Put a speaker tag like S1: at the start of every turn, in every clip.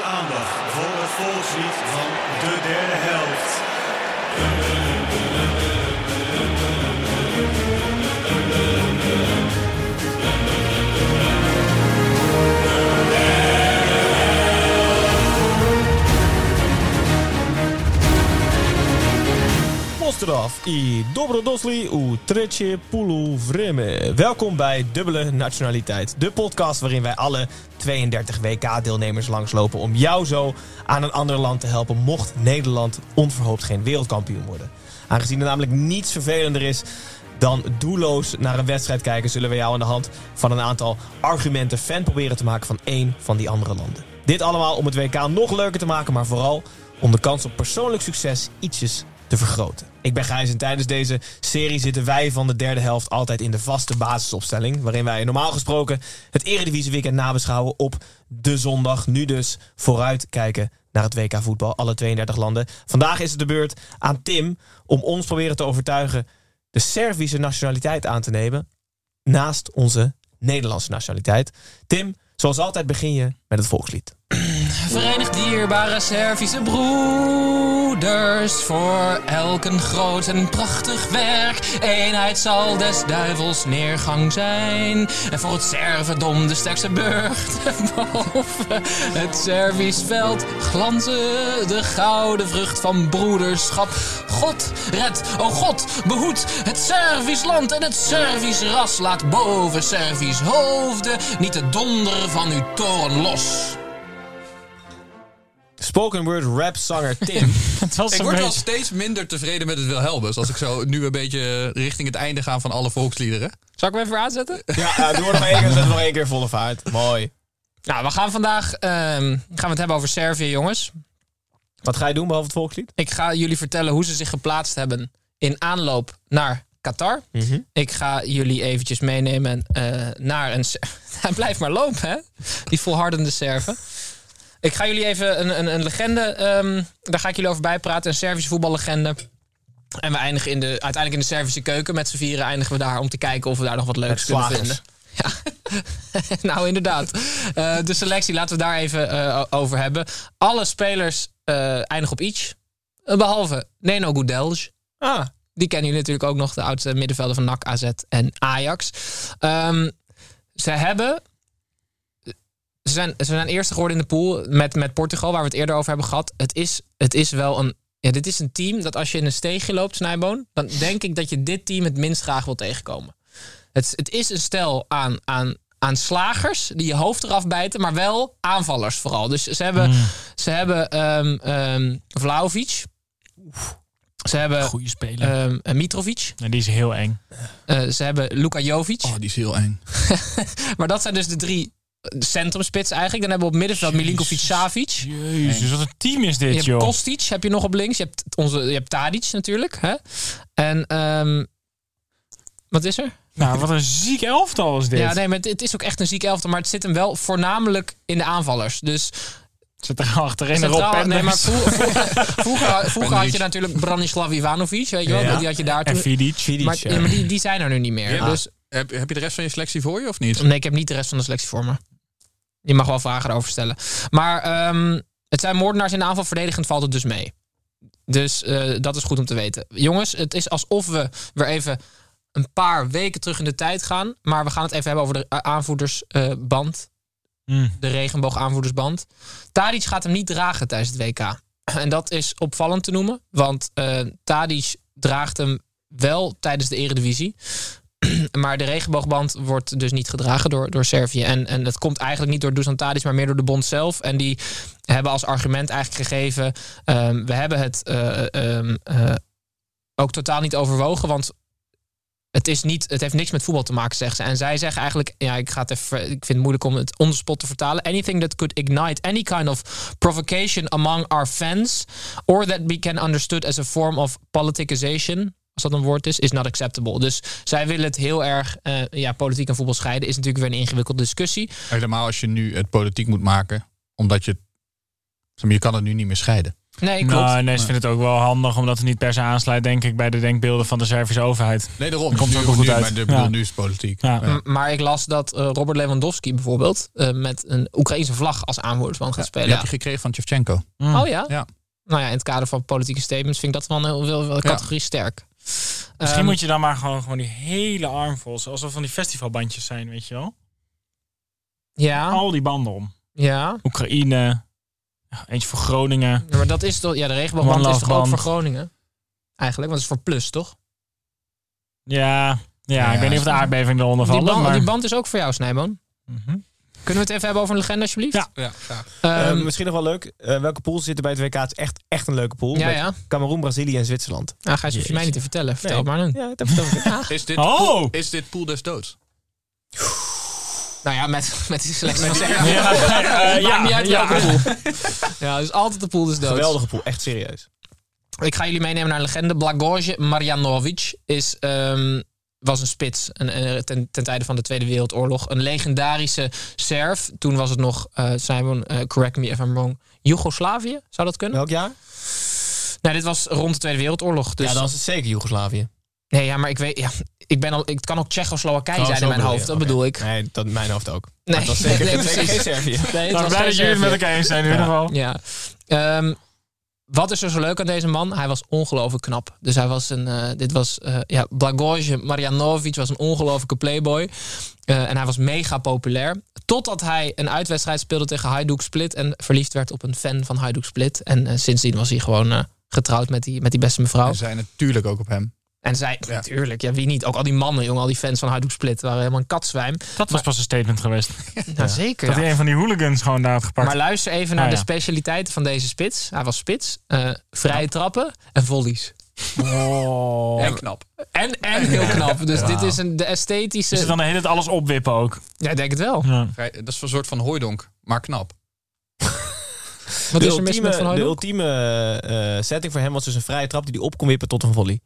S1: aandacht voor het volkslied van de derde helft.
S2: Pozdrav i dobrodošli u treće poluvreme. Welkom bij Dubbele Nationaliteit, de podcast waarin wij alle 32 WK-deelnemers langslopen om jou zo aan een ander land te helpen mocht Nederland onverhoopt geen wereldkampioen worden. Aangezien er namelijk niets vervelender is dan doelloos naar een wedstrijd kijken, zullen we jou aan de hand van een aantal argumenten fan proberen te maken van één van die andere landen. Dit allemaal om het WK nog leuker te maken, maar vooral om de kans op persoonlijk succes ietsjes te vergroten. Ik ben Gijs en tijdens deze serie zitten wij van de derde helft altijd in de vaste basisopstelling. Waarin wij normaal gesproken het Eredivisie Weekend nabeschouwen op de zondag. Nu dus vooruitkijken naar het WK voetbal, alle 32 landen. Vandaag is het de beurt aan Tim om ons proberen te overtuigen de Servische nationaliteit aan te nemen naast onze Nederlandse nationaliteit. Tim, zoals altijd begin je met het volkslied.
S3: Verenigd dierbare Servische broeders, voor elken groot en prachtig werk. Eenheid zal des duivels neergang zijn. En voor het Servendom de sterkste burcht. Boven het Servisch veld glanzen de gouden vrucht van broederschap. God red, o God, behoed het Servisch land en het Servisch ras. Laat boven Servisch hoofden niet de donder van uw toren los.
S2: Spoken word rap zanger Tim.
S4: Het was
S5: Ik
S4: een
S5: word wel
S4: beetje...
S5: steeds minder tevreden met het Wilhelmus. Als ik zo nu een beetje richting het einde ga van alle volksliederen.
S4: Zal ik hem even aanzetten?
S2: ja, nou, doe er nog één keer, zet er nog één keer volle vaart. Mooi.
S4: Nou, we gaan vandaag ehm, gaan we het hebben over Servië, jongens.
S2: Wat ga je doen behalve het volkslied?
S4: Ik ga jullie vertellen hoe ze zich geplaatst hebben in aanloop naar Qatar. Ik ga jullie eventjes meenemen eh, naar een... Ser- Hij blijft maar lopen, hè? Die volhardende Serven. Ik ga jullie even een, een, een legende... ehm, daar ga ik jullie over bijpraten. Een Servische voetballegende. En we eindigen in de, uiteindelijk in de Servische keuken. Met z'n vieren eindigen we daar om te kijken of we daar nog wat leuks kunnen
S2: slagers.
S4: vinden. Ja. nou, inderdaad. Eh, de selectie laten we daar even eh, o- over hebben. Alle spelers eh, eindigen op each. Eh, Behalve Neno Goudelj.
S2: Ah,
S4: Die kennen jullie natuurlijk ook nog. De oudste middenvelder van NAC, AZ en Ajax. Ehm, ze hebben... Ze zijn, ze zijn eerste geworden in de pool met, met Portugal, waar we het eerder over hebben gehad. Het is, het is wel een... Ja, dit is een team dat als je in een steegje loopt, Snijboon... dan denk ik dat je dit team het minst graag wil tegenkomen. Het, het is een stel aan, aan, aan slagers die je hoofd eraf bijten, maar wel aanvallers vooral. Dus ze hebben, ze hebben ehm ehm, Vlahovic. Ze hebben
S5: Goeie speler.
S4: ehm, eh, Mitrovic.
S5: En die is heel eng.
S4: Eh, ze hebben Luka Jovic.
S5: Oh, die is heel eng.
S4: Maar dat zijn dus de drie eh, centrumspitsen eigenlijk. Dan hebben we op middenveld Milinkovic Savic. Je
S5: Jezus, wat een team is dit,
S4: hebt Kostic, heb je nog op links. Je hebt, onze, je hebt Tadic natuurlijk. Hè? En ehm, wat is er?
S5: Nou, wat een ziek elftal is dit.
S4: Ja, nee, maar het, het is ook echt een ziek elftal. Maar het zit hem wel voornamelijk in de aanvaalers. Dus
S5: Zit er achterin
S4: centraal, nee, maar vro- vro- vroeger, vroeger had je natuurlijk Branislav Ivanovic. Weet je wel?
S5: Ja.
S4: Die had je daar toen.
S5: Vidic.
S4: Maar, ja, maar die, die zijn er nu niet meer.
S5: Ja.
S4: Dus
S5: Heb, heb je de rest van je selectie voor je of niet?
S4: Nee, ik heb niet de rest van de selectie voor me. Je mag wel vragen erover stellen. Maar ehm, het zijn moordenaars in de aanval. Verdedigend valt het dus mee. Dus eh, dat is goed om te weten. Jongens, het is alsof we weer even een paar weken terug in de tijd gaan. Maar we gaan het even hebben over de eh, a- aanvoerdersband. De regenboog-aanvoerdersband. Tadic gaat hem niet dragen tijdens het WK. En dat is opvallend te noemen. Want eh Tadic draagt hem wel tijdens de eredivisie. Maar de regenboogband wordt dus niet gedragen door, door Servië. En, en dat komt eigenlijk niet door Dusan Tadic, maar meer door de bond zelf. En die hebben als argument eigenlijk gegeven... ehm, we hebben het eh, ehm, eh, ook totaal niet overwogen, want Het, is niet, het heeft niks met voetbal te maken, zegt ze. En zij zeggen eigenlijk, ja, ik, ga het even, ik vind het moeilijk om het on the spot te vertalen. Anything that could ignite any kind of provocation among our fans, or that we can understood as a form of politicization, als dat een woord is, is not acceptable. Dus zij willen het heel erg, eh, ja, politiek en voetbal scheiden is natuurlijk weer een ingewikkelde discussie.
S5: Helemaal als je nu het politiek moet maken, omdat je... zeg maar, Je kan het nu niet meer scheiden.
S4: Nee, klopt.
S6: Nou, nee, ze vinden het ook wel handig, omdat het niet per se aansluit, denk ik, bij de denkbeelden van de Servische overheid.
S5: Nee, daarom.
S6: Komt
S5: nu,
S6: er ook wel goed
S5: nu,
S6: uit.
S5: Maar de, bedoel,
S6: Ja.
S5: nu is het politiek.
S6: Ja.
S5: Ja.
S4: M- Maar ik las dat eh, Robert Lewandowski bijvoorbeeld eh, met een Oekraïense vlag als aanvoerdersman gaat
S5: Die
S4: spelen.
S5: heb je gekregen van Shevchenko.
S6: Mm.
S4: Oh ja?
S5: Ja.
S4: Nou ja, in het kader van politieke statements vind ik dat wel een heel wel- wel categorie sterk. Ehm,
S6: Misschien moet je dan maar gewoon, gewoon die hele arm vol, zoals er van die festivalbandjes zijn, weet je wel?
S4: Ja,
S6: Al die banden om.
S4: ja.
S6: Oekraïne, ja, eentje voor Groningen.
S4: Maar dat is toch... Ja, de regenboogband
S6: One
S4: is
S6: love
S4: toch ook
S6: band.
S4: voor Groningen? Eigenlijk, want het is voor plus, toch?
S6: Ja, ja,
S5: Ja,
S6: ik weet niet of de aardbeving eronder
S4: Die
S6: valt.
S4: band,
S6: maar... Mhm.
S4: die band is ook voor jou, Snijboon. Kunnen we het even hebben over een legende, alsjeblieft?
S6: Ja.
S5: Ja, ja.
S4: Ehm,
S2: Eh, misschien nog wel leuk. eh, welke pools zitten bij het WK? Het is echt, echt een leuke pool.
S4: ja,
S2: met
S4: ja.
S2: Cameroen, Brazilië en Zwitserland.
S4: Nou, Gijs, hoef je mij niet te vertellen. Vertel
S2: Nee.
S4: het maar nu.
S2: Ja, dat vertel ik.
S5: Is dit,
S6: Oh!
S5: pool, is dit pool des doods?
S4: Nou ja, met, met die selectie van
S6: Ja,
S4: Servië.
S6: eh,
S4: Maakt niet uit
S6: ja.
S4: welke pool. Ja, dus altijd de pool dus dood.
S2: Geweldige pool, echt serieus.
S4: Ik ga jullie meenemen naar een legende. Blagoje Marjanovic is, ehm, was een spits een, een- ten, ten tijde van de Tweede Wereldoorlog. Een legendarische Serv. Toen was het nog, eh, Simon, eh, correct me if I'm wrong, Joegoslavië? Zou dat kunnen?
S2: Welk jaar?
S4: Nee, dit was rond de Tweede Wereldoorlog. Dus,
S2: het zeker Joegoslavië.
S4: Nee, ja, maar ik weet... Ja, ik ben al, het kan ook Tsjechoslowakije zijn in mijn hoofd. Dat bedoel ik. Nee,
S2: Nee, dat in mijn hoofd ook.
S4: nee,
S2: Dat is zeker,
S4: nee,
S2: zeker
S4: precies.
S2: geen Servië.
S4: Nee, het
S6: Nou,
S4: was
S6: blij
S4: geen
S6: dat jullie het met
S4: Servië.
S6: elkaar eens zijn in ieder geval.
S4: Ja. Ehm, wat is er zo leuk aan deze man? Hij was ongelooflijk knap. Dus hij was een. eh, dit was. eh ja, Blagoje Marjanovic was een ongelofelijke playboy. Eh, en hij was mega populair. Totdat hij een uitwedstrijd speelde tegen Hajduk Split. En verliefd werd op een fan van Hajduk Split. En eh, sindsdien was hij gewoon eh, getrouwd met die, met die beste mevrouw.
S5: We zijn natuurlijk ook op hem.
S4: En zij,
S5: Ja.
S4: natuurlijk, ja, wie niet? Ook al die mannen, jongen, al die fans van Hajduk Split waren helemaal een katzwijm.
S6: Dat was pas een statement geweest.
S4: Nou, zeker.
S6: Dat
S4: ja.
S6: hij een van die hooligans gewoon daar had gepakt.
S4: Maar luister even naar
S6: Ah,
S4: de
S6: ja.
S4: specialiteiten van deze spits. Hij was spits. eh, vrije trappen en volleys.
S6: Oh.
S5: En knap.
S4: En, en heel knap. Dus dit is een, de esthetische...
S6: Is het Dus dan de hele tijd alles opwippen ook?
S4: Ja, ik denk het wel.
S6: Ja.
S5: Vrij- Dat is een soort van hooidonk, maar knap.
S4: Wat
S2: de,
S4: is er mis
S2: ultieme,
S4: met Van
S2: de
S4: Hooydonk?
S2: ultieme eh, setting voor hem was dus een vrije trap die hij op kon wippen tot een volley.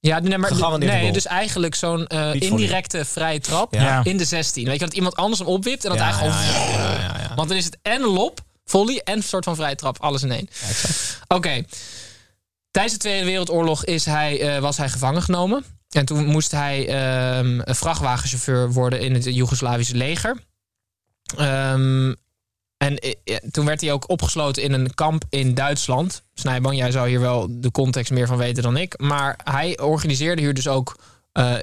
S4: Ja, nee, maar,
S2: Gegarandeerd
S4: nee
S2: goal.
S4: dus eigenlijk zo'n eh,
S2: Niet
S4: indirecte vrije trap
S2: Ja.
S6: Ja.
S4: in de 16. Weet je, dat iemand anders hem opwipt en dat
S2: ja,
S4: hij gewoon...
S2: ja, ja, ja, ja, ja.
S4: Want dan is het en lop, volley en een soort van vrije trap. Alles in één. Oké. Tijdens de Tweede Wereldoorlog is hij, eh, was hij gevangen genomen. En toen moest hij ehm, een vrachtwagenchauffeur worden in het Joegoslavische leger. Ehm, en eh, eh, toen werd hij ook opgesloten in een kamp in Duitsland. Snijboon, jij zou hier wel de context meer van weten dan ik. Maar hij organiseerde hier dus ook... eh,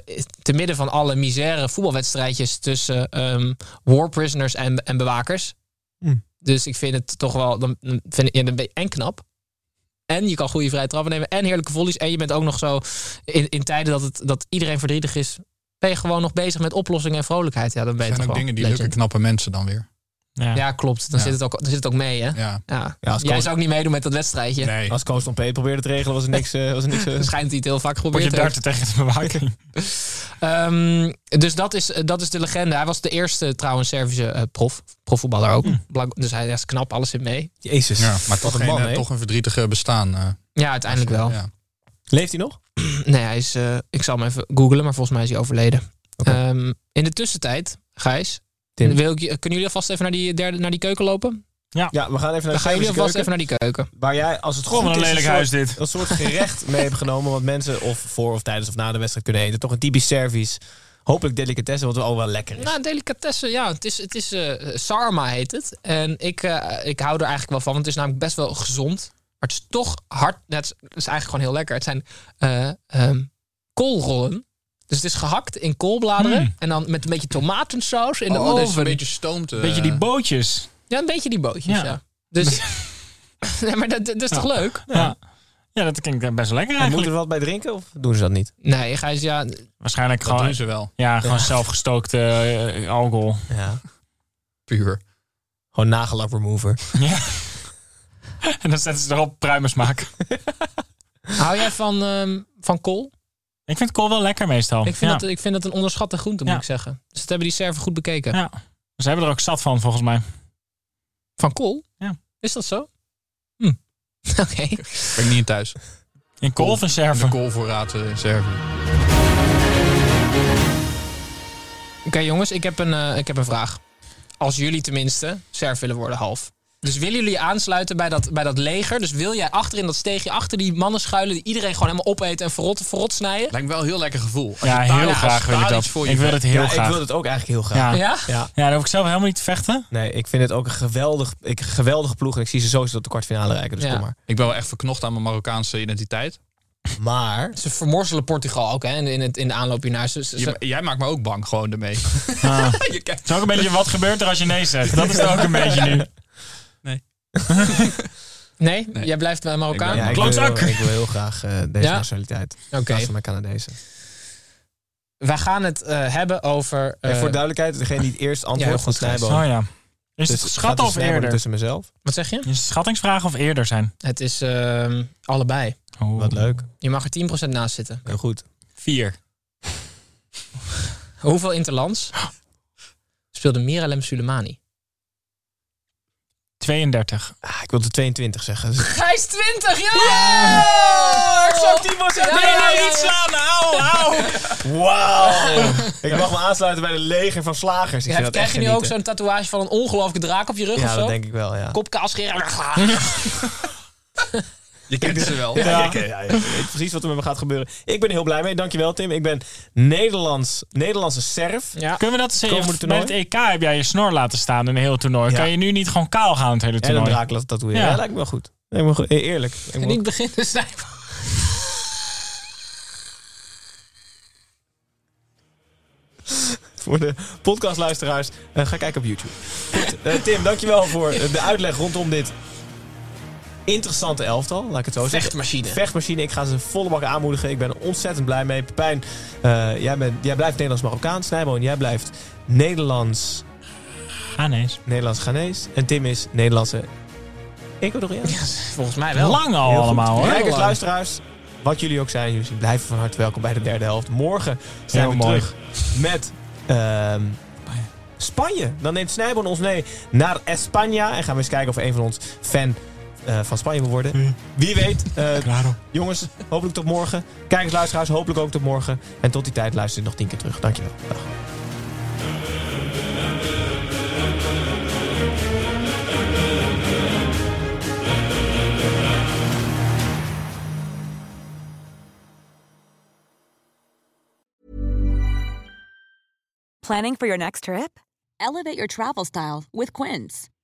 S4: te midden van alle misère voetbalwedstrijdjes tussen ehm, war prisoners en, en bewakers.
S5: Hmm.
S4: Dus ik vind het toch wel... Dan, dan vind ik, ja, dan ben je en knap. En je kan goede vrije trappen nemen. En heerlijke volleys. En je bent ook nog zo... In, in tijden dat, het, dat iedereen verdrietig is... ben je gewoon nog bezig met oplossingen en vrolijkheid. Ja, dan ben je
S5: Er
S4: toch
S5: zijn ook
S4: wel
S5: dingen die
S4: legend.
S5: lukken knappe mensen dan weer.
S6: Ja.
S4: Ja, klopt. Dan,
S5: Ja.
S4: Zit het ook, dan zit het ook mee, hè? Ja.
S5: Ja.
S2: Ja, als
S4: Jij
S2: coach-
S4: zou ook niet meedoen met dat wedstrijdje.
S5: Nee.
S2: Als Coach Tom P probeerde het te regelen, was er niks. eh, was er niks eh,
S4: Dan schijnt hij het heel vaak
S6: Word je
S4: geprobeerd te hebben.
S6: darten tegen de bewaking.
S4: Ehm, dus dat is, dat is de legende. Hij was de eerste trouwens Servische eh, prof, profvoetballer ook. Blank- dus hij is knap, alles in mee.
S2: Jezus.
S5: Ja, maar
S2: Wat
S5: toch,
S2: een
S5: geen,
S2: man,
S5: eh,
S2: hè?
S5: toch een verdrietige bestaan. eh.
S4: Ja, uiteindelijk wel.
S5: Ja.
S2: Leeft hij nog?
S4: Nee, hij is, eh, ik zal hem even googlen, maar volgens mij is hij overleden. Ehm, in de tussentijd, Gijs,
S2: Tim.
S4: wil ik, je- kunnen jullie alvast even naar die, derde, naar die keuken lopen?
S2: Ja, we gaan even naar de
S4: Dan gaan jullie
S2: Eh, Servische
S4: alvast
S2: keuken,
S4: even naar die keuken.
S2: Waar jij, als het
S6: Kom,
S2: goed
S6: wat
S2: is,
S6: een
S2: een
S6: lelijk
S2: soort-
S6: huis dit.
S2: een soort gerecht mee hebt genomen. Wat mensen of voor of tijdens of na de wedstrijd kunnen eten. Toch een typisch Servisch. Hopelijk delicatessen, wat wel wel lekker is.
S4: Nou, delicatessen, ja. Het is, het is eh, sarma heet het. En ik, eh, ik hou er eigenlijk wel van, want het is namelijk best wel gezond. Maar het is toch hard. net het, is, het is eigenlijk gewoon heel lekker. Het zijn eh, ehm, koolrollen. Dus het is gehakt in koolbladeren.
S6: Hmm.
S4: En dan met een beetje tomatensaus in de
S5: oh, dit is
S4: oven.
S5: een beetje stoomte. eh.
S6: Beetje die bootjes.
S4: Ja, een beetje die bootjes, ja.
S6: Ja.
S4: Dus, nee, maar dat, dat is toch leuk?
S6: Ja. ja, dat klinkt best lekker
S2: en
S6: eigenlijk.
S2: moeten we wat bij drinken of doen ze dat niet?
S4: Nee, Gijs, ja,
S6: Waarschijnlijk
S5: Dat doen
S6: gewoon,
S5: ze wel,
S6: Ah, ja, gewoon zelfgestookte eh, alcohol.
S2: Ja.
S5: puur.
S2: Gewoon nagellak remover.
S6: En dan zetten ze erop pruimensmaak.
S4: hou jij van, ehm, van kool?
S6: Ik vind kool wel lekker meestal.
S4: Ik vind,
S6: ja.
S4: dat, ik vind dat een onderschatte groente, moet
S6: Ja.
S4: ik zeggen. Dus dat hebben die server goed bekeken.
S6: Ja. Ze hebben er ook zat van, volgens mij.
S4: Van kool?
S6: Ja.
S4: Is dat zo? Hm. Oké.
S5: Ben ik niet in thuis.
S6: In kool of in server?
S5: De koolvoorraad eh, in Servië.
S4: Oké jongens, ik heb, een, eh, ik heb een vraag. Als jullie tenminste serf willen worden, half. Dus willen jullie aansluiten bij dat, bij dat leger? Dus wil jij achter in dat steegje, achter die mannen schuilen... die iedereen gewoon helemaal opeten en verrot, verrot snijden?
S5: Lijkt me wel een heel lekker gevoel. Als
S6: Ja,
S5: je daar-
S6: heel
S5: als
S6: graag
S5: daar
S6: wil ik
S5: iets
S6: dat.
S5: voor je
S6: ik wil
S5: bent.
S6: het heel
S2: ja,
S6: graag.
S2: ik wil het ook eigenlijk heel graag.
S6: Ja. Ja.
S4: Ja?
S2: Ja.
S6: daar hoef ik zelf helemaal niet te vechten.
S2: Nee, ik vind het ook een geweldig, ik, een geweldige ploeg. En ik zie ze sowieso tot de kwartfinale reiken. Dus
S4: Ja.
S2: kom maar.
S5: Ik ben wel echt verknocht aan mijn Marokkaanse identiteit.
S2: Maar,
S4: Ze vermorzelen Portugal ook, hè? In, het, in de aanloop hiernaar. Ze, ze,
S5: Je-
S4: ze-
S5: jij maakt me ook bang gewoon daarmee.
S6: Ah. Het is ook een beetje wat gebeurt er als je nee zegt. Dat is het ook een beetje nu.
S4: nee?
S5: Nee.
S4: Jij blijft bij Marokkaan?
S5: Ik ben-
S2: ja, ik, wil,
S6: Klootzak!
S2: ik wil heel graag eh, deze
S4: Ja?
S2: nationaliteit.
S4: Oké.
S2: Okay. Naast van mijn Canadezen.
S4: Wij gaan het eh, hebben over... eh,
S2: En voor duidelijkheid, degene die het eerst antwoordt
S4: ja,
S2: van
S4: goed, Gijs.
S2: Snijboom.
S6: Oh ja. Is
S2: Dus
S6: het
S2: gaat
S6: schatten
S2: de
S6: of
S2: snijboom
S6: eerder? Is
S2: tussen mezelf.
S4: Wat zeg je?
S6: het schattingsvragen of eerder zijn?
S4: Het is ehm, allebei.
S6: Oh.
S2: Wat leuk.
S4: Je mag er 10% naast zitten.
S2: Heel goed.
S5: Vier.
S4: Hoeveel interlands speelde Miralem Soleimani?
S6: 32.
S2: Ah, ik wilde 22 zeggen. Dus
S4: Hij is 20, ja!
S2: Exact 10%.
S4: Ja, ja, ja, ja.
S6: Au, au.
S2: Wauw! ik mag me aansluiten bij de leger van slagers. Ik
S4: Ja,
S2: vind dat
S4: krijg
S2: echt
S4: je nu ook
S2: genieten.
S4: zo'n tatoeage van een ongelooflijke draak op je rug of
S2: Ja,
S4: zo?
S2: dat denk ik wel, ja.
S4: Kop kaal scheren.
S5: Je kent ze wel.
S2: Ja, ik, ja, ik weet precies wat er met me gaat gebeuren. Ik ben er heel blij mee. Dankjewel, Tim. Ik ben Nederlands, Nederlandse serf.
S4: Ja.
S6: Kunnen we dat eens
S2: Komende
S6: even... Bij het EK heb jij je snor laten staan in een heel toernooi.
S2: Ja.
S6: Kan je nu niet gewoon kaal gaan het hele
S2: En een
S6: toernooi?
S2: draak laten tatoeëren.
S6: Ja.
S2: Ja. lijkt me wel goed. Lijkt me goed. Eh, Eerlijk. Lijkt me
S4: En
S2: wel-
S4: ik begin te snijden.
S2: voor de podcastluisteraars. eh, ga kijken op YouTube. Goed, eh, Tim, dankjewel voor eh, de uitleg rondom dit interessante elftal. Laat ik het zo zeggen.
S4: Vechtmachine.
S2: Vechtmachine. Ik ga ze volle bak aanmoedigen. Ik ben er ontzettend blij mee. Pepijn, eh, jij, bent, jij blijft Nederlands-Marokkaans. Snijboon, jij blijft Nederlands...
S6: Ah, nee.
S2: Nederlands-Ghanees. En Tim is Nederlandse Ecuadoriaans.
S4: Volgens mij wel.
S6: Lang al
S2: Heel goed.
S6: allemaal hoor.
S2: Kijkers, luisteraars, wat jullie ook zijn, jullie blijven van harte welkom bij de derde helft. Morgen zijn
S6: Heel
S2: we
S6: mooi.
S2: terug met ehm, Spanje. Dan neemt Snijboon ons mee naar Espanja. En gaan we eens kijken of een van ons fan eh, van Spanje wil worden. Wie weet. eh,
S6: Claro.
S2: jongens, hopelijk tot morgen. Kijkers, luisteraars, hopelijk ook tot morgen. En tot die tijd luister je nog tien keer terug. Dankjewel. Dag.
S7: Planning for your next trip? Elevate your travel style with Quince.